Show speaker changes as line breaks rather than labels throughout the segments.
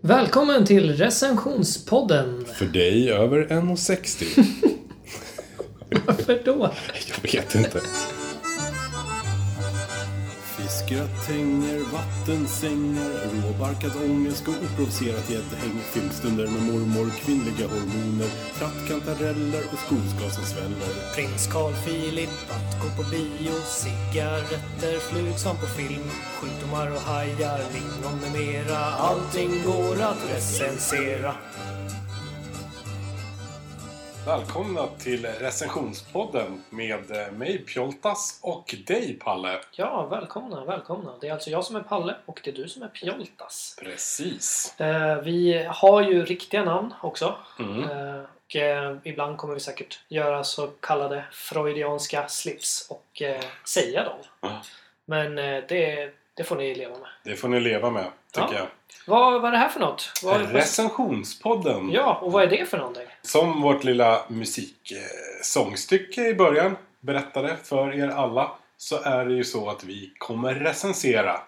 Välkommen till recensionspodden.
För dig över 1,60.
Varför då?
Jag vet inte.
Fiskgratänger, vattensängar, råbarkad ångest och oprovocerat gäddhäng. Filmstunder med mormor, kvinnliga hormoner, trattkantareller och skogsglas som sväller.
Prins Carl Philip att gå på bio Cigaretter, flug som på film Sjukdomar och hajar, lingon med mera Allting går att recensera
Välkomna till recensionspodden med eh, mig Pjoltas och dig Palle.
Ja, välkomna, välkomna. Det är alltså jag som är Palle och det är du som är Pjoltas.
Precis.
Eh, Vi har ju riktiga namn också.
Mm.
Eh, Och eh, ibland kommer vi säkert göra så kallade freudianska slips och eh, säga dem.
Ja.
Men eh, det, det får ni leva med.
Det får ni leva med, tycker
Ja. Vad, vad är det här för något? Vad är
jag.
det
Recensionspodden.
Ja, och vad är det för någonting?
Som vårt lilla musiksångstycke i början berättade för er alla så är det ju så att vi kommer recensera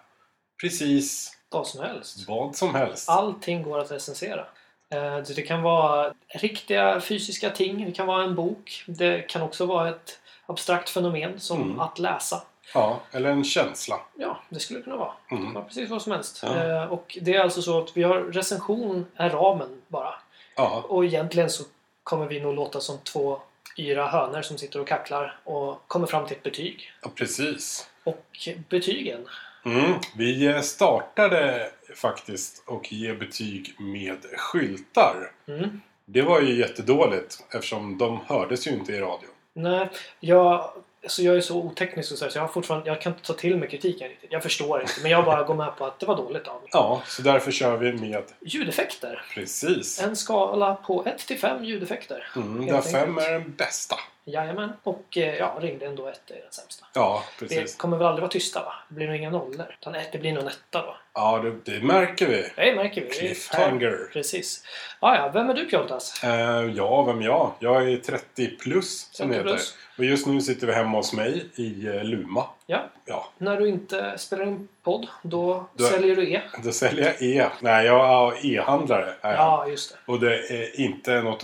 precis
Vad som helst.
vad som helst.
Allting går att recensera. Eh, Det kan vara riktiga fysiska ting, det kan vara en bok. Det kan också vara ett abstrakt fenomen som
Mm.
att läsa.
Ja, eller en känsla.
Ja, det skulle det kunna vara. Det kan
Mm.
vara precis vad som helst.
Ja.
Eh, Och det är alltså så att vi har recension är ramen bara.
Ja,
Och egentligen så kommer vi nog låta som två yra hönor som sitter och kacklar och kommer fram till ett betyg.
ja, precis.
Och betygen.
Mm. Vi eh, startade faktiskt och ge betyg med skyltar.
Mm.
Det var ju jättedåligt eftersom de hördes ju inte i radio.
Nej, jag, så jag är så oteknisk och så, här, så jag, har fortfarande, jag kan inte ta till mig kritiken riktigt. Jag förstår inte, men jag bara går med på att det var dåligt av mig.
Ja, så därför kör vi med
Ljudeffekter.
precis.
En skala på 1 till 5 ljudeffekter.
Mm,
helt
där fem
enkelt.
är den bästa.
Jajamän. Och eh, ja, ringde ändå eh, 1 är den sämsta.
Ja,
Det
precis.
kommer väl aldrig vara tysta va? Det blir nog inga nollor. Utan ett, det blir nog en etta då.
Ja, det, det märker vi.
Det märker vi. Vi tar-
Cliffhanger.
Precis. Ah, ja, vem är du Pjoltas?
Eh, ja, vem jag? Jag är 30 plus som
30
det heter.
plus.
Och just nu sitter vi hemma hos mig i eh, Luma.
Ja,
Ja,
när du inte spelar in podd, då
Du är-
säljer du E.
då säljer jag E. Nej, jag är e-handlare. är jag.
Ja, just det.
Och det är inte något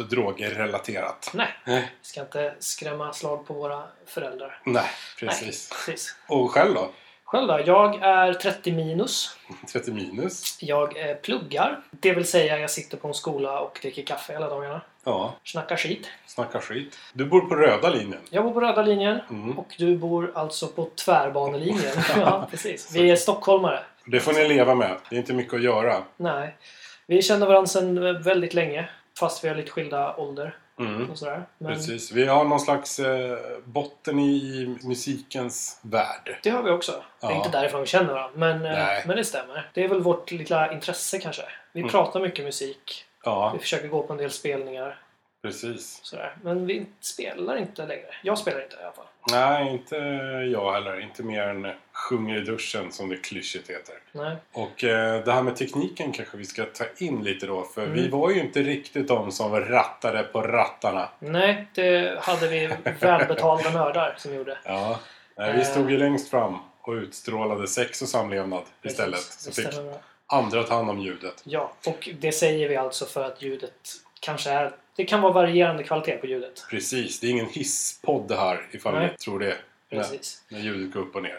drogrelaterat.
Nej,
Nej.
vi ska inte skrämma slag på våra föräldrar.
Nej, precis.
Nej, precis.
Och själv då?
Själv då? Jag är 30 minus.
30 minus?
Jag eh, pluggar. Det vill säga jag sitter på en skola och dricker kaffe hela dagarna.
Ja,
Snackar skit.
snacka skit. Du bor på röda linjen.
Jag bor på röda linjen
Mm.
och du bor alltså på tvärbanelinjen. ja, precis. Vi är stockholmare.
Det får ni leva med. Det är inte mycket att göra.
Nej. Vi känner varandra sedan väldigt länge. Fast vi har lite skilda ålder
Mm.
och sådär. Men
Precis. Vi har någon slags eh, botten i musikens värld.
det har vi också. Det är
Ja.
inte därifrån vi känner varandra. Men, eh,
Nej.
men det stämmer. Det är väl vårt lilla intresse kanske. Vi
Mm.
pratar mycket musik. Vi
Ja,
försöker gå på en del spelningar.
precis.
Sådär. Men vi spelar inte längre. Jag spelar inte i alla fall.
Nej, inte jag heller. Inte mer än sjunger i duschen som det klyschigt heter.
Nej.
Och eh, det här med tekniken kanske vi ska ta in lite då. För
Mm.
vi var ju inte riktigt de som rattade på rattarna.
Nej, det hade vi välbetalda nördar som gjorde.
Ja, nej, vi
Eh.
stod ju längst fram och utstrålade sex och samlevnad istället.
Precis,
Så
det
fick
stämmer bra.
andra ta hand om ljudet.
Ja, och det säger vi alltså för att ljudet kanske är... Det kan vara varierande kvalitet på ljudet.
Precis, det är ingen hisspodd det här ifall
Nej.
ni tror det. När,
Precis.
när ljudet går upp och ner.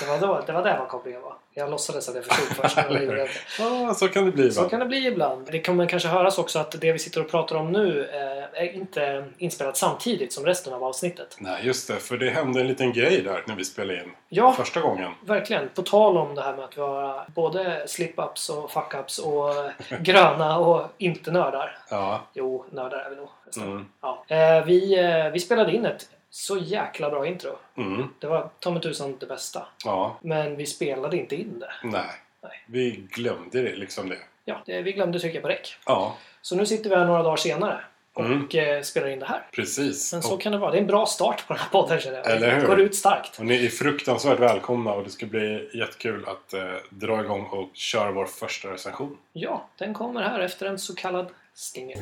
Det var, då, det var där vad kopplingen var. Jag låtsades att jag förstod först. men det gjorde jag inte.
Ja, så kan det bli
Så
va?
kan det bli ibland. Det kommer kanske höras också att det vi sitter och pratar om nu eh, är inte inspelat samtidigt som resten av avsnittet.
Nej, just det. För det hände en liten grej där när vi spelade in
Ja,
första gången.
Verkligen. På tal om det här med att vara både slip-ups och fuck-ups och eh, gröna och inte nördar.
Ja,
Jo, nördar är vi nog. förresten.
mm,
Ja. Eh, vi, eh, vi spelade in ett så jäkla bra intro.
mm,
Det var ta mig tusan det bästa.
ja,
Men vi spelade inte in det.
nej.
Nej.
Vi glömde det liksom det.
Ja, det, vi glömde trycka på räck.
Ja,
Så nu sitter vi här några dagar senare och
Mm.
eh, spelar in det här.
precis.
Men så
Och,
kan det vara. Det är en bra start på den här podden känner jag.
Eller hur?
Går ut starkt.
och ni är fruktansvärt välkomna och det ska bli jättekul att eh, dra igång och köra vår första recension.
Ja, den kommer här efter en så kallad stinger.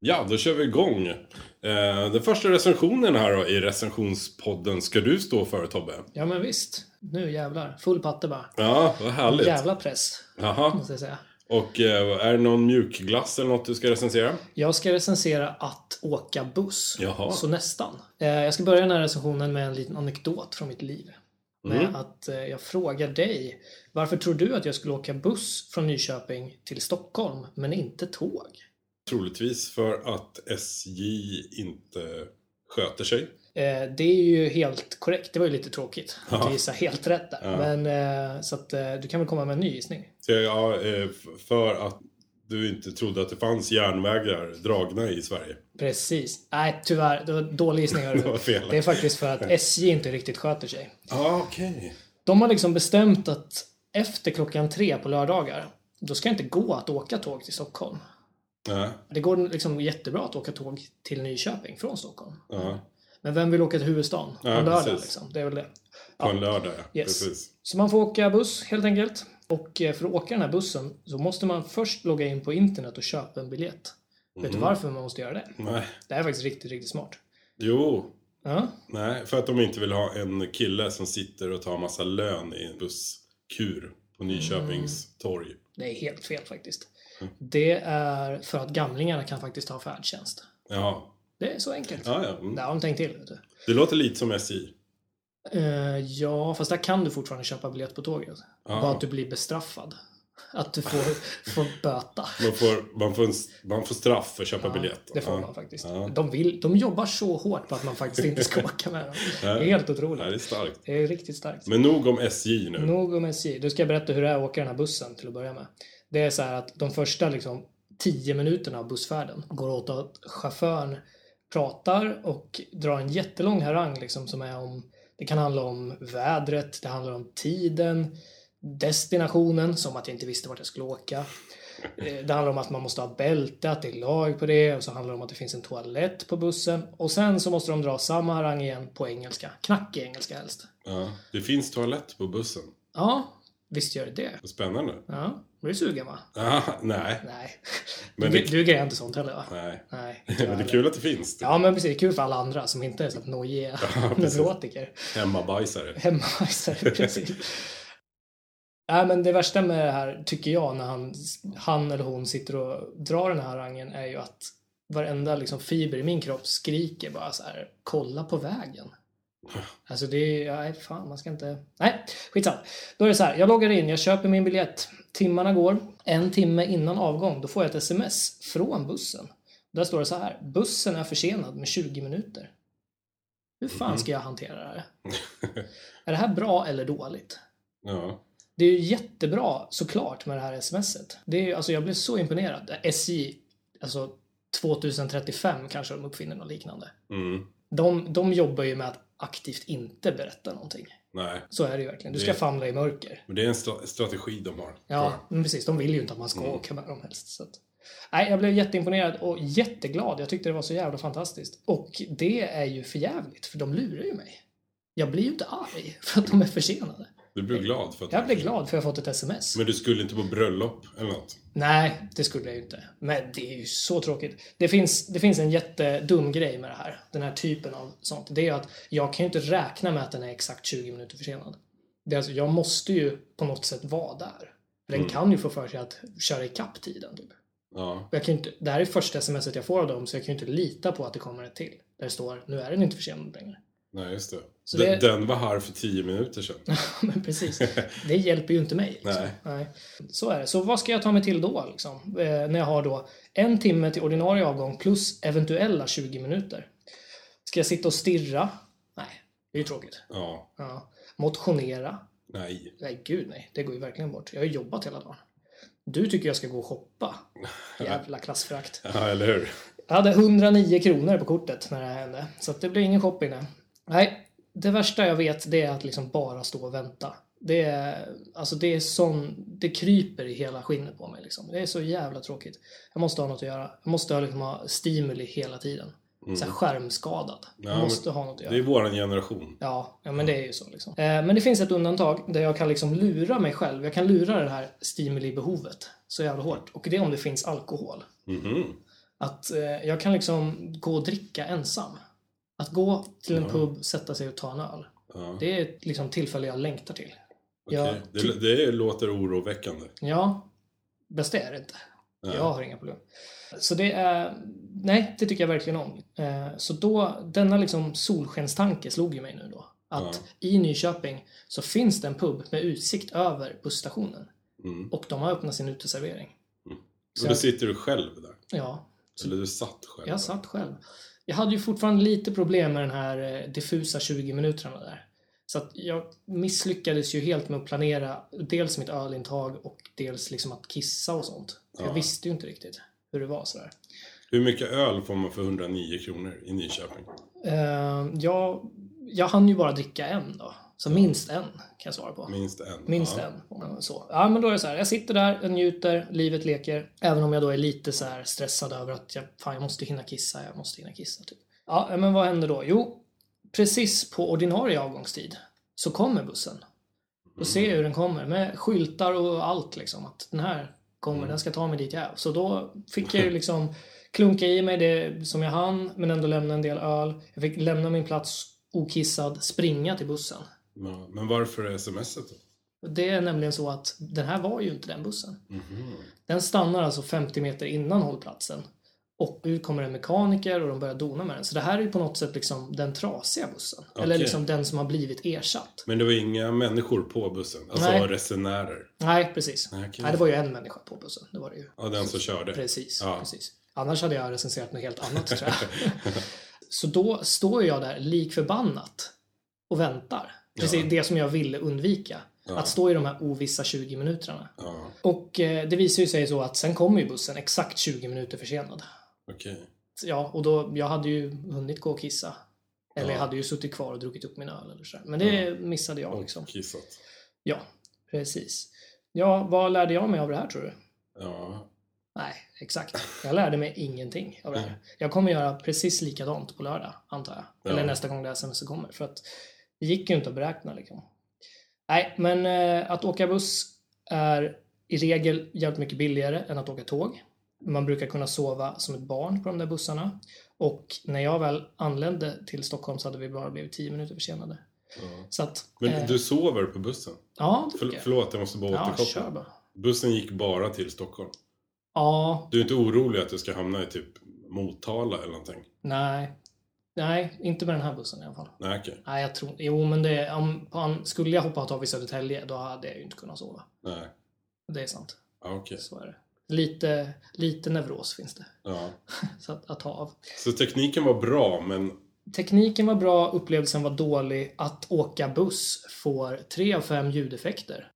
Ja, då kör vi igång. Eh, Den första recensionen här då, i recensionspodden ska du stå för Tobbe.
Ja, men visst. Nu jävlar. Full patte bara.
Ja, vad härligt.
Jävla press,
Jaha.
måste jag säga.
Och eh, är det någon mjukglass eller något du ska recensera?
Jag ska recensera att åka buss.
Jaha.
Så nästan. Eh, Jag ska börja den här recensionen med en liten anekdot från mitt liv. Med
Mm.
att eh, jag frågar dig, varför tror du att jag skulle åka buss från Nyköping till Stockholm, men inte tåg?
Troligtvis för att SJ inte sköter sig.
Eh, Det är ju helt korrekt. Det var ju lite tråkigt att
Ja.
du gissade helt rätt där.
Ja.
Men, eh, så att, eh, du kan väl komma med en ny gissning?
Så, ja, eh, f- för att du inte trodde att det fanns järnvägar dragna i Sverige.
Precis. Nej, tyvärr. Det var en dålig gissning. hörru.
Det var fel.
Det är faktiskt för att SJ inte riktigt sköter sig.
Ja, okej.
De har liksom bestämt att efter klockan tre på lördagar, då ska det inte gå att åka tåg till Stockholm.
Ja,
Det går liksom jättebra att åka tåg till Nyköping från Stockholm.
ja.
Men vem vill åka till huvudstaden på
Ja,
en lördag?
precis.
Liksom? Det är väl det.
På en lördag, ja.
Yes.
Precis.
Så man får åka buss helt enkelt. Och eh, för att åka den här bussen så måste man först logga in på internet och köpa en biljett. Vet
Mhm.
du varför man måste göra det?
Nej.
Det här är faktiskt riktigt, riktigt smart.
Jo,
Ja,
Nej, för att de inte vill ha en kille som sitter och tar massa lön i en busskur på
Mm.
Nyköpings torg.
det är helt fel faktiskt.
Mm.
Det är för att gamlingarna kan faktiskt ha färdtjänst.
Ja,
Det är så enkelt.
ja, ja.
Det
Mm.
har de tänkt till. Vet du.
Det låter lite som SJ.
Eh, ja, fast där kan du fortfarande köpa biljett på tåget.
Ja.
Bara att du blir bestraffad. Att du får, får böta.
Man får, man får, en, man får straff för att köpa biljett.
Det får
ja.
man faktiskt.
Ja.
De, vill, de jobbar så hårt på att man faktiskt inte ska åka med dem. Det är helt
Nej, det är
otroligt.
starkt.
Det är riktigt starkt.
Men nog om SJ nu.
Nog om SJ. Du ska jag berätta hur det är att åka den här bussen till att börja med. Det är så här att de första liksom, tio minuterna av bussfärden går åt att chauffören pratar och drar en jättelång harang liksom, som är om det kan handla om vädret, det handlar om tiden, destinationen, som att jag inte visste vart jag skulle åka. Eh, Det handlar om att man måste ha bälte, att det är lag på det och så handlar det om att det finns en toalett på bussen. Och sen så måste de dra samma harang igen på engelska. Knackig engelska helst.
Ja. Det finns toalett på bussen.
Ja, visst gör det det.
Vad Spännande.
Ja, blir du sugen va?
Ah, nej.
Nej.
Men
du,
det-
du grejar inte sånt heller va?
nej.
Nej.
Men det är
tyvärr.
kul att det finns. typ.
Ja men precis, kul för alla andra som inte är så att nojiga
precis.
neurotiker.
Hemmabajsare.
Hemmabajsare, precis. Nej men det värsta med det här, tycker jag, när han, han eller hon sitter och drar den här rangen är ju att varenda liksom, fiber i min kropp skriker bara så här, kolla på vägen. Alltså det är ju- nej fan man ska inte, nej skitsamma. Då är det så här, jag loggar in, jag köper min biljett, timmarna går, en timme innan avgång då får jag ett sms från bussen. Där står det så här, bussen är försenad med 20 minuter. Hur fan ska jag hantera det här? Är det här bra eller dåligt?
Ja.
Det är ju jättebra såklart med det här smset. Det är ju, alltså jag blev så imponerad. SJ, alltså 2035 kanske de uppfinner något liknande.
Mm.
De, de jobbar ju med att aktivt inte berätta någonting.
Nej.
Så är det ju verkligen. Du ska
Det-
famla i mörker.
Men det är en stra- strategi de har.
Ja, men precis. De vill ju inte att man ska åka med dem helst. Så att. Nej, jag blev jätteimponerad och jätteglad. Jag tyckte det var så jävla fantastiskt. Och det är ju för jävligt, för de lurar ju mig. Jag blir ju inte arg för att de är försenade.
Du blir glad för att
Jag blev glad för jag fått ett sms.
Men du skulle inte på bröllop eller något?
Nej, det skulle jag ju inte. Men det är ju så tråkigt. Det finns, det finns en jättedum grej med det här. Den här typen av sånt. Det är ju att jag kan ju inte räkna med att den är exakt 20 minuter försenad. Det är alltså, jag måste ju på något sätt vara där. För Den kan ju få för sig att köra ikapp tiden. Typ.
Ja.
Och Jag kan ju inte, det här är första smset jag får av dem så jag kan ju inte lita på att det kommer ett till. Där det står nu är den inte försenad längre.
Nej, just det.
Så
Den-
det-
Den var här för tio minuter sedan.
Men precis. Det hjälper ju inte mig. Liksom.
Nej.
Så är det. Så vad ska jag ta mig till då? Liksom? Eh, när jag har då en timme till ordinarie avgång plus eventuella 20 minuter. Ska jag sitta och stirra? Nej, det är ju tråkigt.
Ja.
Ja. Motionera?
Nej.
Nej, gud nej. Det går ju verkligen bort. Jag har ju jobbat hela dagen. Du tycker jag ska gå och shoppa? Jävla klassfrakt.
Ja, eller hur?
Jag hade 109 kronor på kortet när det här hände. Så att det blir ingen shopping där. Nej, det värsta jag vet det är att liksom bara stå och vänta. Det är, alltså det är sån, det kryper i hela skinnet på mig liksom. Det är så jävla tråkigt. Jag måste ha något att göra. Jag måste ha, liksom, ha stimuli hela tiden. Så här skärmskadad.
Ja,
jag måste ha något att göra.
Mm. Det är våran generation.
Ja, ja men det är ju så. Liksom. Eh, men det finns ett undantag där jag kan liksom lura mig själv. Jag kan lura det här stimulibehovet så jävla hårt. Och det är om det finns alkohol.
Mhm.
Att eh, jag kan liksom gå och dricka ensam. Att gå till en
Ja.
pub, sätta sig och ta en öl.
Ja,
Det typ. är ett liksom tillfälle jag längtar till.
okej.
jag
det, det låter oroväckande.
Ja, bäst är det inte.
Nej.
Jag har inga problem. Så det är, nej, det tycker jag verkligen om. Eh, Så då, denna liksom solskenstanke slog ju mig nu då. Att i Nyköping så finns det en pub med utsikt över busstationen.
Mm.
Och de har öppnat sin uteservering.
Och då
jag-
sitter du själv där.
Ja,
Eller du satt själv. där.
jag satt själv. Jag hade ju fortfarande lite problem med den här eh, diffusa 20 minuterna där. Så att jag misslyckades ju helt med att planera dels mitt ölintag och dels liksom att kissa och sånt. För
Ja.
Jag visste ju inte riktigt hur det var sådär.
Hur mycket öl får man för 109 kronor i Nyköping?
Eh, jag, jag hann ju bara dricka en då. Så minst en kan jag svara på.
Minst en.
Minst
ja.
en. om man Så. Ja, men då är det så här. Jag sitter där, jag njuter, livet leker. Även om jag då är lite så här stressad över att jag, fan, jag måste hinna kissa, jag måste hinna kissa. Typ. Ja, men vad händer då? Jo, precis på ordinarie avgångstid så kommer bussen. Då ser jag hur den kommer med skyltar och allt liksom. Att den här kommer, den ska ta mig dit jag är. Så då fick jag ju liksom klunka i mig det som jag hann, men ändå lämna en del öl. Jag fick lämna min plats okissad, springa till bussen.
Mm. Ja, men varför är smset då?
Det är nämligen så att den här var ju inte den bussen.
Mhm.
Den stannar alltså 50 meter innan hållplatsen. Och ut kommer en mekaniker och de börjar dona med den. Så det här är ju på något sätt liksom den trasiga bussen. Eller
Okej.
liksom den som har blivit ersatt.
Men det var inga människor på bussen? Alltså
Nej.
resenärer?
Nej, precis.
Nej, okej.
Nej, det var ju en människa på bussen. Det var det ju.
Ja, den som körde?
Precis,
Ja.
precis. Annars hade jag recenserat något helt annat tror jag. Så då står jag där lik förbannat och väntar. Precis
Ja.
det som jag ville undvika.
Ja.
Att stå i de här ovissa 20 minuterna.
Ja,
Och eh, det visar ju sig så att sen kommer ju bussen exakt 20 minuter försenad.
okej.
Ja, och då, jag hade ju hunnit gå och kissa. Eller
Ja.
jag hade ju suttit kvar och druckit upp min öl eller så. Men det missade jag liksom.
Och kissat.
Ja, precis. Ja, vad lärde jag mig av det här tror du?
Ja.
Nej, exakt. Jag lärde mig ingenting av det
Mm.
här. Jag kommer göra precis likadant på lördag, antar jag. Eller
Ja.
nästa gång det här sms kommer. För att det gick ju inte att beräkna liksom. Nej, men eh, att åka buss är i regel jävligt mycket billigare än att åka tåg. Man brukar kunna sova som ett barn på de där bussarna. Och när jag väl anlände till Stockholm så hade vi bara blivit 10 minuter försenade.
ja.
Så att...
Men
eh,
du sover på bussen?
ja, det
Förl-
tycker jag.
Förlåt, jag måste bara
Ja,
återkoppla.
kör bara.
Bussen gick bara till Stockholm.
Ja,
Du är inte orolig att du ska hamna i typ Motala eller någonting?
nej. Nej, inte med den här bussen i alla fall.
Nej, okej.
Nej, jag tror Jo, men det... Om, om, skulle jag hoppa av i Södertälje, då hade jag ju inte kunnat sova.
Nej.
Det är sant.
Ja, okej.
Så är det. Lite, lite neuros finns det.
Ja.
Så att, att ha av.
Så tekniken var bra, men...
Tekniken var bra, upplevelsen var dålig. Att åka buss får 3 av 5 ljudeffekter.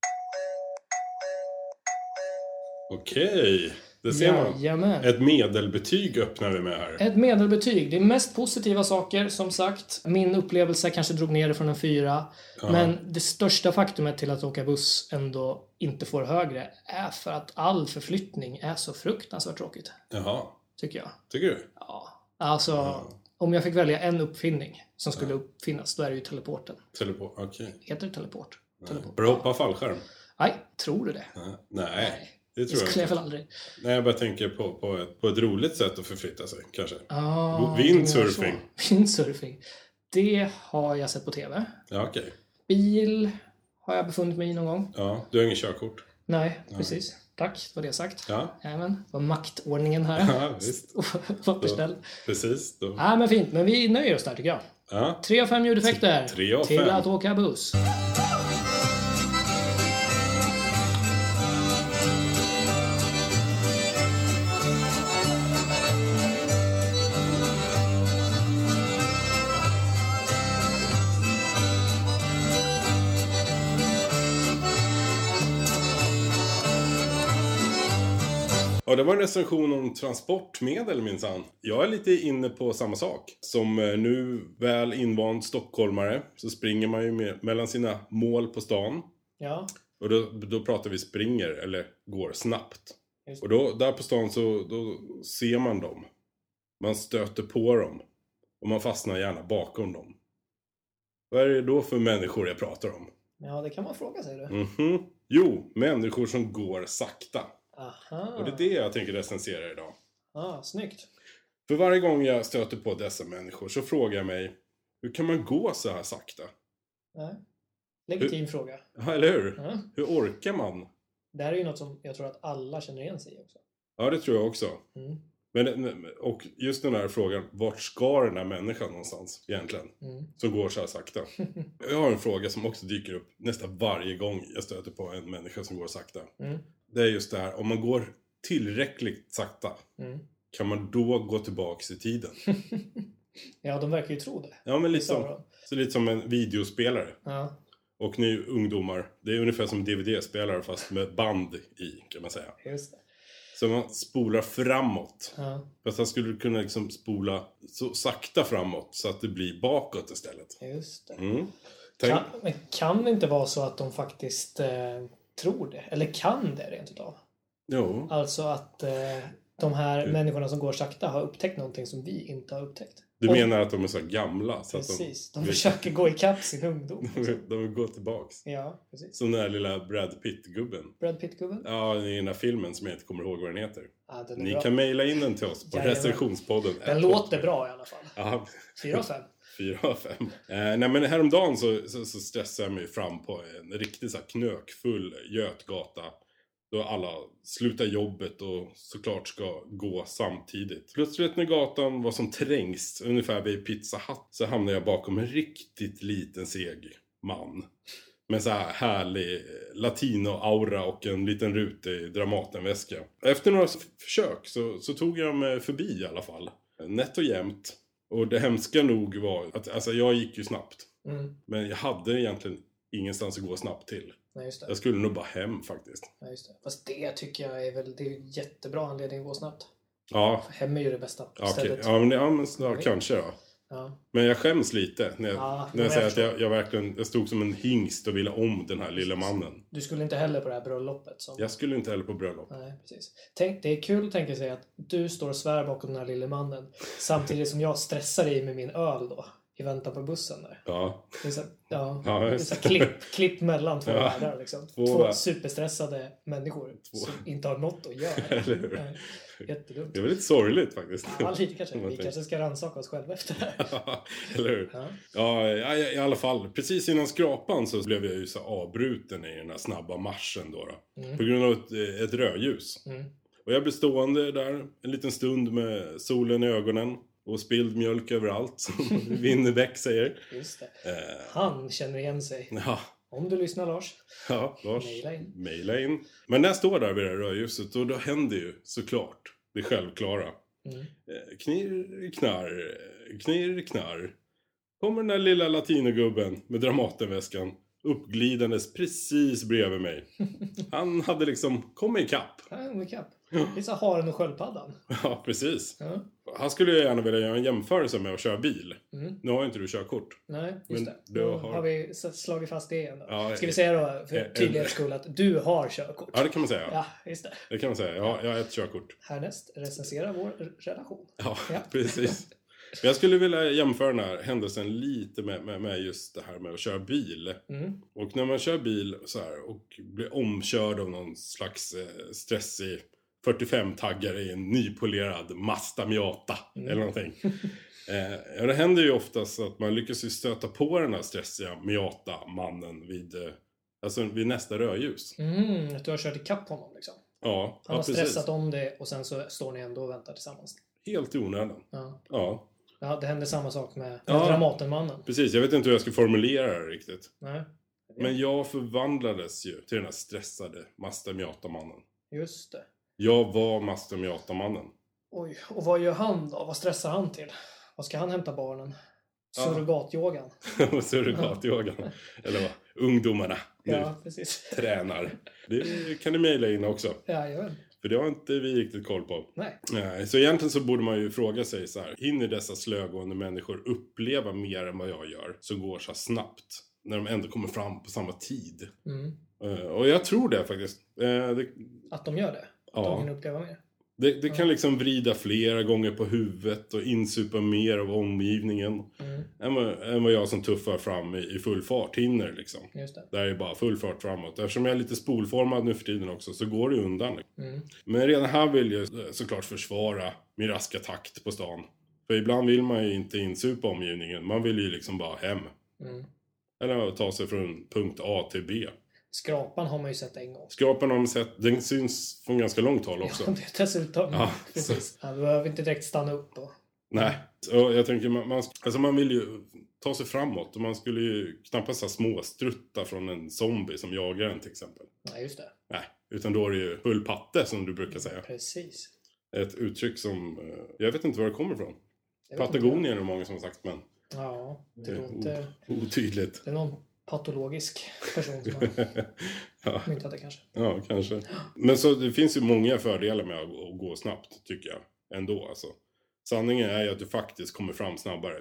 Okej. Det ser man.
Jajamän.
Ett medelbetyg öppnar vi med här.
Ett medelbetyg. Det är mest positiva saker, som sagt. Min upplevelse kanske drog ner det från en fyra.
Ja.
Men det största faktumet till att åka buss ändå inte får högre är för att all förflyttning är så fruktansvärt tråkigt.
Jaha.
Tycker jag.
Tycker du?
Ja. Alltså,
Ja.
om jag fick välja en uppfinning som skulle uppfinnas, då är det ju teleporten.
Teleport? Okej.
Heter det teleport?
Okay.
Teleport.
Bra hoppa fallskärm?
Nej, tror du det?
Nej. Nej. Det
Det
tror jag
skulle jag
inte.
väl aldrig.
Nej, jag bara tänker på, på, ett, på ett roligt sätt att förflytta sig, kanske.
Ah,
Windsurfing.
du menar så. Windsurfing. Det har jag sett på TV.
Ja, okej.
Bil har jag befunnit mig i någon gång.
Ja, du har inget körkort?
Nej, precis. Tack, det var det sagt.
Ja.
Jajamän, det var maktordningen här.
Ja, visst.
Återställd.
Precis. Då.
Ja, men fint. Men vi nöjer oss där tycker jag.
Ja.
3 av 5 ljudeffekter.
Tre av
Till
fem.
att åka buss.
ja, det var en recension om transportmedel minsann. Jag är lite inne på samma sak. Som eh, nu väl invand stockholmare så springer man ju med, mellan sina mål på stan.
Ja.
Och då, då pratar vi springer eller går snabbt.
Just.
Och då, där på stan så då ser man dem. Man stöter på dem. Och man fastnar gärna bakom dem. Vad är det då för människor jag pratar om?
ja, det kan man fråga sig. Du.
Mhm. Jo, människor som går sakta.
Aha.
Och det är det jag tänker recensera idag.
Ah, snyggt.
För varje gång jag stöter på dessa människor så frågar jag mig, hur kan man gå så här sakta?
Nej. Legitim fråga.
Ja, eller hur?
Ja.
Hur orkar man?
Det här är ju något som jag tror att alla känner igen sig i också.
Ja, det tror jag också.
Mm.
Men, men- och just den här frågan, vart ska den här människan någonstans egentligen?
Mm.
Som går så här sakta. Jag har en fråga som också dyker upp nästan varje gång jag stöter på en människa som går sakta.
Mm.
Det är just det här, om man går tillräckligt sakta,
Mm.
kan man då gå tillbaks i tiden?
Ja, de verkar ju tro det.
Ja, men lite
Sa
som,
de.
så lite som en videospelare.
Ja.
Och ni ungdomar, det är ungefär som DVD-spelare fast med band i, kan man säga.
Just det.
Så man spolar framåt.
Ja,
Fast han skulle kunna liksom spola så sakta framåt så att det blir bakåt istället.
just det.
Mm. Tänk,
Kan, men kan det inte vara så att de faktiskt eh, tror det? Eller kan det rent utav?
Jo.
Alltså att eh, de här
Du-
människorna som går sakta har upptäckt någonting som vi inte har upptäckt.
Du
Och-
menar att de är så här gamla? Så att
Precis. De
vi-
försöker gå ikapp sin ungdom.
De, de går tillbaks.
Ja, precis.
Som den här lilla Brad Pitt-gubben.
Brad Pitt-gubben?
Ja, i den här filmen som jag inte kommer ihåg vad den heter.
Ja, den är
Ni
bra.
kan mejla in den till oss på
Jajamän.
recensionspodden.
Den låter bra i alla fall.
Ja,
Fyra av fem.
fyra av fem. Eh, nej men häromdagen så, så, så stressade jag mig fram på en riktigt så här knökfull Götgata. Då alla slutar jobbet och såklart ska gå samtidigt. Plötsligt när gatan var som trängst, ungefär vid Pizza Hut, så hamnade jag bakom en riktigt liten seg man. Med så här härlig eh, latino-aura och en liten rutig Dramatenväska. Efter några f- försök så, så tog jag mig förbi i alla fall. Nätt och jämnt. Och det hemska nog var att alltså, jag gick ju snabbt.
Mm.
Men jag hade egentligen ingenstans att gå snabbt till.
Nej, just det.
Jag skulle nog bara hem faktiskt.
Nej, just det. Fast det tycker jag är väl... Det är ju jättebra anledning att gå snabbt.
Ja,
Hem är ju det bästa
ja, okej.
stället.
Ja, men, ja, men snart, kanske då.
Ja.
Men jag skäms lite när jag,
Ja,
när jag
jag
säger att
förstår.
jag, jag verkligen jag stod som en hingst och ville om den här lilla mannen.
Du skulle inte heller på det här bröllopet som...
Jag skulle inte heller på bröllop.
Nej, precis. Tänk, det är kul att tänka sig att du står och svär bakom den här lille mannen samtidigt som jag stressar dig med min öl då i väntan på bussen där.
Ja,
Det är så, ja,
Ja,
det är
just
så klipp, klipp mellan två
Ja.
världar liksom.
Två
Två,
världar.
superstressade människor som inte har något att göra.
Eller hur?
Nej, Jättedumt.
det var lite sorgligt faktiskt.
Ja, lite kanske.
Om man
Vi
tänker.
kanske ska rannsaka oss själva efter det här.
Eller hur?
Ja.
Ja, ja, i alla fall. Precis innan skrapan så blev jag ju så avbruten i den här snabba marschen då. då
Mm.
På grund av ett, ett rödljus.
Mm.
Och jag blev stående där en liten stund med solen i ögonen och spilld mjölk överallt, som Winnerbäck säger.
Just det.
Eh,
Han känner igen sig.
ja,
Om du lyssnar Lars.
ja, Lars.
Mejla in.
Mejla in. Men när jag står där vid det här rödljuset, då, då händer ju såklart det självklara.
Mm.
Eh, knirr, knarr, eh, knirr, knarr. Kommer den där lilla latinogubben med Dramatenväskan uppglidandes precis bredvid mig. Han hade liksom kommit ikapp.
Ja, en ikapp. Det är så haren och sköldpaddan.
Ja, precis.
Ja.
Här skulle jag gärna vilja göra en jämförelse med att köra bil.
Mm.
Nu har ju inte du körkort.
Nej,
Men
just det.
du
Då
har-
har vi s- slagit fast det igen då.
Ja,
Ska
eh,
vi säga då,
eh, eh,
för tydlighets skull, att du har körkort?
Ja, det kan man säga.
Ja, just det.
Det kan man säga. Jag har, jag har ett körkort.
Härnäst, recensera vår r- relation.
Ja,
Ja.
precis. Men jag skulle vilja jämföra den här händelsen lite med, med, med just det här med att köra bil.
Mm.
Och när man kör bil så här och blir omkörd av någon slags eh, stressig 45-taggare i en nypolerad Mazda Miata
Mm.
eller någonting. Eh, ja, det händer ju oftast att man lyckas ju stöta på den här stressiga Miata-mannen vid, eh, alltså vid nästa rödljus.
Mm, att du har kört ikapp honom liksom.
Ja,
Han
ja
har
precis.
stressat om det och sen så står ni ändå och väntar tillsammans.
Helt i onödan.
Ja.
Ja,
Ja, det hände samma sak med, med
Ja.
Dramatenmannen.
precis. Jag vet inte hur jag ska formulera det riktigt.
Nej,
Men jag förvandlades ju till den här stressade Mazda Miata-mannen.
just det.
Jag var Mazda Miata-mannen.
Oj, och vad gör han då? Vad stressar han till? Vad ska han hämta barnen?
Ja.
Surrogatyogan?
och surrogatyogan. Eller vad ungdomarna nu
Ja, precis.
tränar. Det kan ni mejla in också.
Jajamän.
För det har inte vi riktigt koll på.
Nej.
Nej, Så egentligen så borde man ju fråga sig så här. Hinner dessa slögående människor uppleva mer än vad jag gör? Som går så här snabbt. När de ändå kommer fram på samma tid.
Mm.
Eh, Och jag tror det faktiskt. Eh, Det,
Att de gör det? Att
Ja.
de kan uppleva mer?
Det, det kan liksom vrida flera gånger på huvudet och insupa mer av omgivningen
Mm,
än vad, än vad jag som tuffar fram i, i full fart hinner liksom.
just det.
Där är bara full fart framåt. Eftersom jag är lite spolformad nu för tiden också så går det ju undan. liksom.
Mm,
Men redan här vill jag eh, såklart försvara min raska takt på stan. För ibland vill man ju inte insupa omgivningen. Man vill ju liksom bara hem.
mm.
Eller ta sig från punkt A till B.
Skrapan har man ju sett en gång.
Skrapan har man sett, den syns från ganska långt håll också.
Ja, det- dessutom.
Ja,
precis. Ja, vi behöver inte direkt stanna upp och...
Nej, så jag tänker man, man, alltså man vill ju ta sig framåt. Och man skulle ju knappast ha småstrutta från en zombie som jagar en till exempel.
Nej, just det.
Nej, utan då är det ju full patte som du brukar säga.
Precis.
Ett uttryck som, eh, jag vet inte var det kommer ifrån.
Det vet inte
Patagonien är det många som har sagt, men
jag. Ja, det
Det är
låter...
otydligt.
Det är någon patologisk person som har
ja,
myntat det kanske.
ja, kanske. Men så det finns ju många fördelar med att att gå snabbt, tycker jag. Ändå alltså. Sanningen är ju att du faktiskt kommer fram snabbare.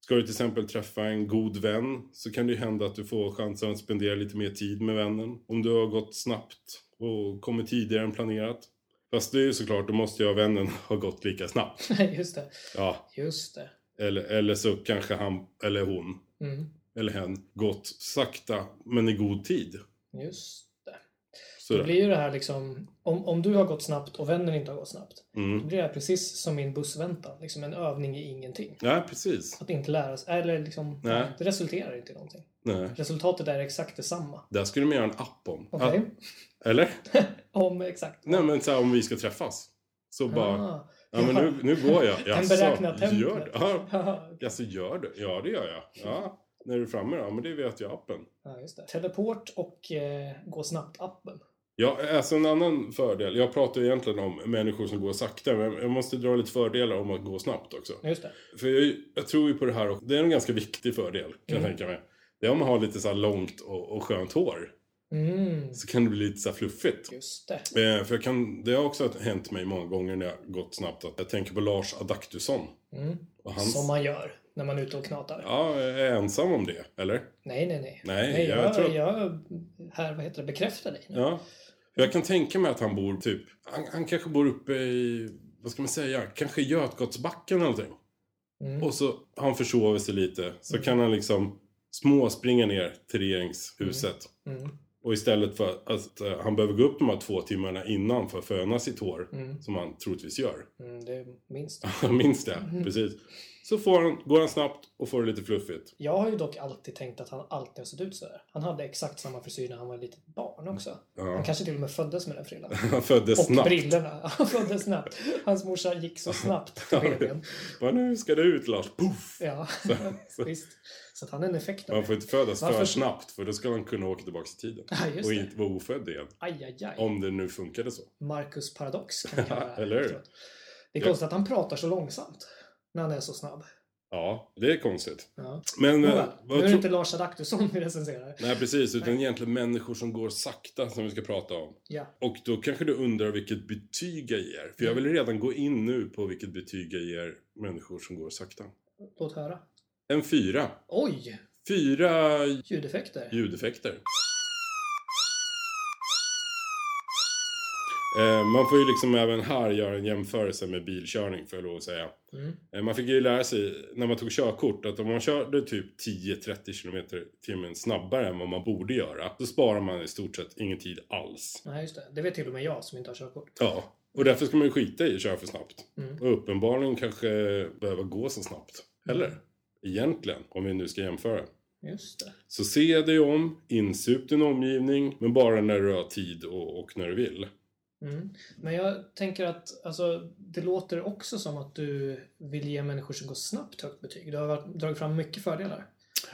Ska du till exempel träffa en god vän så kan det ju hända att du får chansen att spendera lite mer tid med vännen. Om du har gått snabbt och kommit tidigare än planerat. Fast det är ju såklart, då måste ju ha vännen ha gått lika snabbt.
Nej, just det.
Ja,
Just det.
eller, eller så kanske han eller hon
Mm,
eller hen gått sakta men i god tid.
just det. Det
Sådär.
blir ju det här liksom... Om, om du har gått snabbt och vännen inte har gått snabbt. Då
Mm.
blir det här precis som min bussväntan. Liksom en övning i ingenting.
Ja, precis.
Att inte lära sig. Eller liksom...
Nej.
Det resulterar inte i någonting.
Nej.
Resultatet är exakt detsamma.
Där skulle man göra en app om.
Okej?
Att- eller?
Om exakt.
Nej men så här, om vi ska träffas. Så bara,
Ah,
ja men nu, nu går jag.
Den
Jaså,
beräknar tempot.
Gör du? Ja,
Ja,
alltså gör du? Ja det gör jag. Ja, när du är framme då? Ja men det vet jag appen.
Ja, just det. Teleport och eh, gå snabbt-appen.
Ja, alltså en annan fördel. Jag pratar ju egentligen om människor som går sakta, men jag måste dra lite fördelar om att gå snabbt också.
Ja, Just det.
För jag, jag tror ju på det här och det är en ganska viktig fördel, kan jag
Mm.
tänka mig. Det är om man har lite så här långt och, och skönt hår.
Mm,
Så kan det bli lite så här fluffigt.
just det.
Eh, för jag kan, det har också hänt mig många gånger när jag gått snabbt att jag tänker på Lars Adaktusson.
Mm.
Och hans,
Som man gör när man är ute och knatar.
Ja, jag är ensam om det, eller?
Nej, nej, nej.
Nej,
jag,
jag
jag,
tror-
här, vad heter det, bekräftar dig. nu.
Ja. För jag kan tänka mig att han bor typ, han, han kanske bor uppe i, vad ska man säga, kanske Götgatsbacken eller någonting.
Mm.
Och så har han försover sig lite, så
Mm.
kan han liksom småspringa ner till regeringshuset.
Mm.
Och istället för att eh, han behöver gå upp de här två timmarna innan för att föna sitt hår,
Mm.
som han troligtvis gör.
Mm, det är minst.
Jag minns det,
Mm-hmm.
precis. Så får han, går han snabbt och får det lite fluffigt.
Jag har ju dock alltid tänkt att han alltid har sett ut så här. Han hade exakt samma frisyr när han var ett litet barn också. Han
Mm. Ja.
kanske till och med föddes med den frillan.
Han föddes
Och
snabbt.
brillorna. Han föddes snabbt. Hans morsa gick så snabbt till BB'n.
Bara, nu ska det ut Lars. Puff!
Ja, visst. Så att han är en effekt av
Man får inte födas för
Varför-
snabbt för då skulle han kunna åka tillbaka i tiden.
Ja, just
Och
det.
inte vara ofödd igen.
Aj, aj, aj.
Om det nu funkade så.
Marcus paradox kan vi kalla det här.
Eller hur?
efteråt. Det är
Ja.
konstigt att han pratar så långsamt när han är så snabb.
Ja, det är konstigt.
Ja.
Men... eh,
Nåväl, nu
vad
är det
tro-
inte Lars Adaktusson vi recenserar.
Nej, precis. Utan egentligen människor som går sakta som vi ska prata om.
Ja.
Och då kanske du undrar vilket betyg jag ger. För jag vill redan gå in nu på vilket betyg jag ger människor som går sakta.
Låt höra.
En fyra.
Oj!
Fyra
Ljudeffekter.
ljudeffekter. Eh, Man får ju liksom även här göra en jämförelse med bilkörning får jag lov att säga.
Mm.
Eh, Man fick ju lära sig när man tog körkort att om man körde typ 10-30 km timmen snabbare än vad man borde göra, då sparar man i stort sett ingen tid alls.
Nej, just det. Det vet till och med jag som inte har körkort.
Ja. Och därför ska man ju skita i att köra för snabbt.
Mm.
Och uppenbarligen kanske behöva gå så snabbt. Eller? Egentligen, om vi nu ska jämföra.
Just det.
Så se dig om, insup din omgivning, men bara när du har tid och, och när du vill.
Mm. Men jag tänker att alltså, det låter också som att du vill ge människor som går snabbt högt betyg. Du har varit- dragit fram mycket fördelar.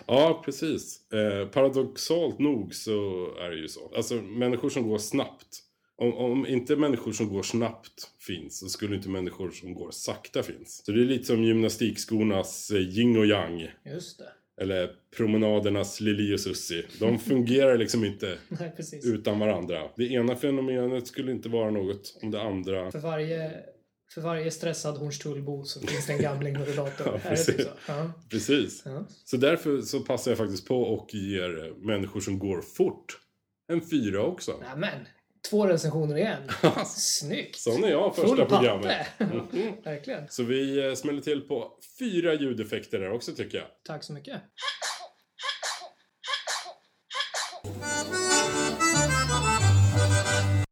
Ja, precis. Eh, paradoxalt nog så är det ju så. Alltså, människor som går snabbt. Om, om inte människor som går snabbt finns så skulle inte människor som går sakta finns. Så det är lite som gymnastikskornas eh, yin och yang.
Just det.
Eller promenadernas Lili och Susi. De fungerar liksom inte
Nej, precis.
utan varandra. Det ena fenomenet skulle inte vara något om det andra.
För varje, för varje stressad Hornstullbo så finns det en gamling med rullator. är
Ja,
det typ
precis.
så? Ja,
Precis.
ja.
Så därför så passar jag faktiskt på och ger eh, människor som går fort en fyra också.
Nämen! Två recensioner igen. Snyggt!
Sån är jag första
Full
programmet. Mm.
pappe! Verkligen.
Så vi eh, smäller till på fyra ljudeffekter där också tycker jag.
Tack så mycket.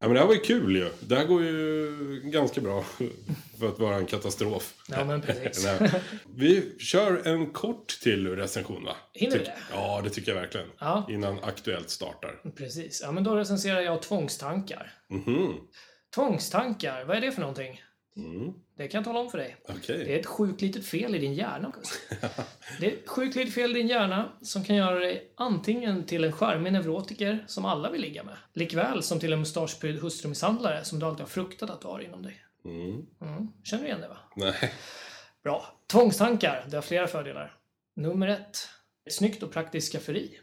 Ja, men det här var ju kul ju. Det här går ju ganska bra för att vara en katastrof.
Ja, men precis.
Nej. Vi kör en kort till recension va?
Hinner vi
Tyck-
det?
Ja, det tycker jag verkligen.
Ja,
Innan Aktuellt startar.
precis. Ja, men då recenserar jag tvångstankar.
Mhm.
Tvångstankar, vad är det för någonting?
Mm.
Det kan jag tala om för dig.
Okej.
Det är ett sjukt litet fel i din hjärna. August. Det är ett sjukt litet fel i din hjärna som kan göra dig antingen till en charmig neurotiker som alla vill ligga med. Likväl som till en mustaschprydd hustrumisshandlare som du alltid har fruktat att du har inom dig.
Mm.
Mm. Känner du igen det va?
Nej.
Bra. Tvångstankar, det har flera fördelar. Nummer ett. Ett snyggt och praktiskt skafferi.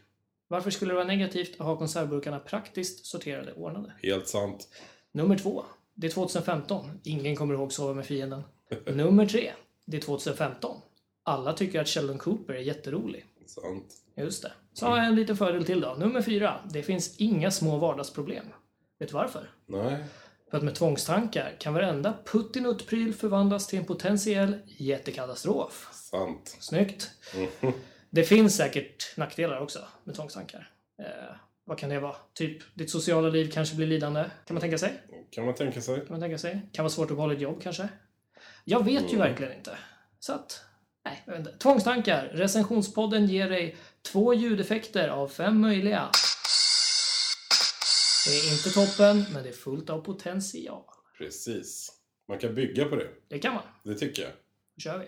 Varför skulle det vara negativt att ha konservburkarna praktiskt sorterade och ordnade?
Helt sant.
Nummer två. Det är 2015. Ingen kommer ihåg Sova med fienden. Nummer tre. Det är 2015. Alla tycker att Sheldon Cooper är jätterolig.
Sant.
Just det. Så har jag en liten fördel till då. Nummer fyra. Det finns inga små vardagsproblem. Vet du varför?
Nej.
För att med tvångstankar kan varenda puttinutt-pryl förvandlas till en potentiell jättekatastrof.
Sant.
Snyggt. Det finns säkert nackdelar också med tvångstankar. Eh, vad kan det vara? Typ, ditt sociala liv kanske blir lidande. Kan man tänka sig?
Kan man tänka sig.
Kan man tänka sig. Kan vara svårt att behålla ett jobb kanske. Jag vet ju verkligen inte. Så att, nej, jag vet inte. Tvångstankar. Recensionspodden ger dig två ljudeffekter av fem möjliga. Det är inte toppen, men det är fullt av potential.
Precis. Man kan bygga på det.
Det kan man.
Det tycker jag.
Då kör vi.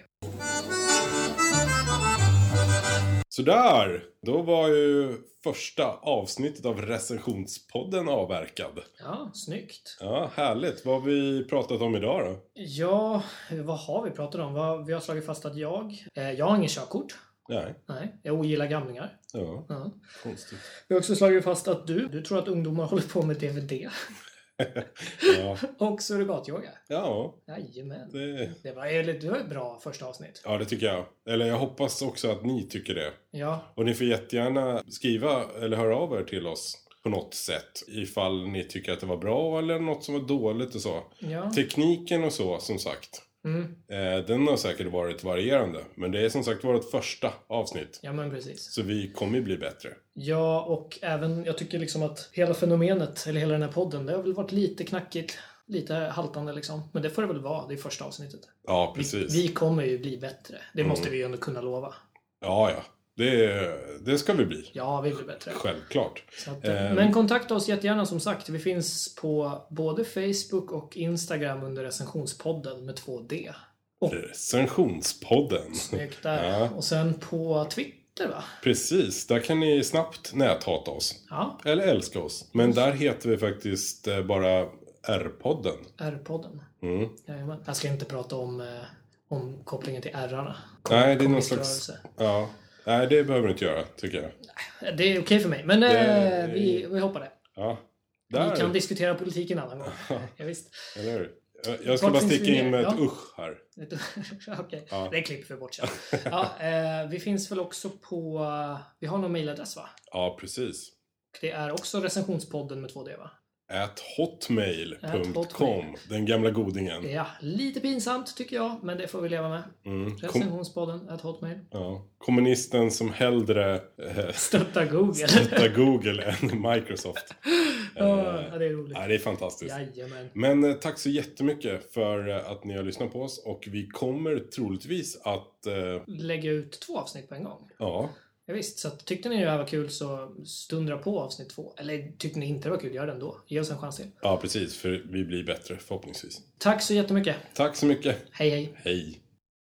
Sådär! Då var ju första avsnittet av recensionspodden avverkad.
Ja, snyggt.
Ja, härligt. Vad har vi pratat om idag då?
Ja, vad har vi pratat om? Vad- Vi har slagit fast att jag... Eh, jag har ingen körkort.
Nej.
Nej, jag ogillar gamlingar.
Ja,
Ja.
konstigt.
Vi har också slagit fast att du, du tror att ungdomar håller på med DVD.
Ja,
Och surrogatyoga.
ja
Jajamän.
det...
Det var, ett- det var ett bra första avsnitt.
Ja, det tycker jag. Eller jag hoppas också att ni tycker det.
Ja,
Och ni får jättegärna skriva eller höra av er till oss på något sätt. Ifall ni tycker att det var bra eller något som var dåligt och så.
ja.
Tekniken och så, som sagt.
Mm.
Eh, den har säkert varit varierande. Men det är som sagt vårt första avsnitt.
Ja, men precis.
Så vi kommer ju bli bättre.
Ja, och även, jag tycker liksom att hela fenomenet, eller hela den här podden, det har väl varit lite knackigt. Lite haltande liksom. Men det får det väl vara, det är första avsnittet.
Ja,
Vi,
precis.
vi kommer ju bli bättre. Det
Mm.
måste vi ju ändå kunna lova.
Ja, ja. Det, det ska vi bli.
Ja, vi blir bättre.
Självklart.
Så att,
Ehm.
Men kontakta oss jättegärna som sagt. Vi finns på både Facebook och Instagram under recensionspodden med 2D.
Recensionspodden.
Snyggt där.
Ja.
Och sen på Twitter va?
Precis, där kan ni snabbt näthata oss.
Ja,
Eller älska oss. Men där heter vi faktiskt eh, bara R-podden.
R-podden.
Mm.
Jajamän. Jag ska inte prata om, eh, om kopplingen till R-arna.
Nej, det är någon
Kommuniströrelse.
slags... Ja. Nej, det behöver du inte göra, tycker jag.
Det är okej för mig, men eh,
Det-
vi, vi hoppar det.
Ja.
Vi kan
Där!
diskutera politik en annan gång. ja, visst.
Eller hur? Jag- Jag ska
Vart
bara
finns
sticka
vi
in
mer?
med ett
Ja.
usch här.
Okej,
Ja.
det klipper vi bort sen. Ja, eh, vi finns väl också på... Vi har någon mejladress va?
Ja, precis.
Det är också recensionspodden med 2D va?
At hotmail.com.
Hotmail. Mm.
Den gamla godingen.
Ja, lite pinsamt tycker jag, men det får vi leva med.
Mm. Kom,
Recensionspodden, at hotmail.
ja. Kommunisten som hellre eh,
Stötta Google.
stöttar Google än Microsoft.
ja, det är roligt.
Ja, det är fantastiskt.
Jajamän.
Men eh, tack så jättemycket för eh, att ni har lyssnat på oss och vi kommer troligtvis att, eh,
Lägga ut två avsnitt på en gång.
ja,
Ja, visst, så att, tyckte ni det här var kul så stundra på avsnitt två. Eller tyckte ni inte det var kul, gör det ändå. Ge oss en chans till.
ja precis, för vi blir bättre förhoppningsvis.
Tack så jättemycket.
Tack så mycket,
Hej hej.
hej!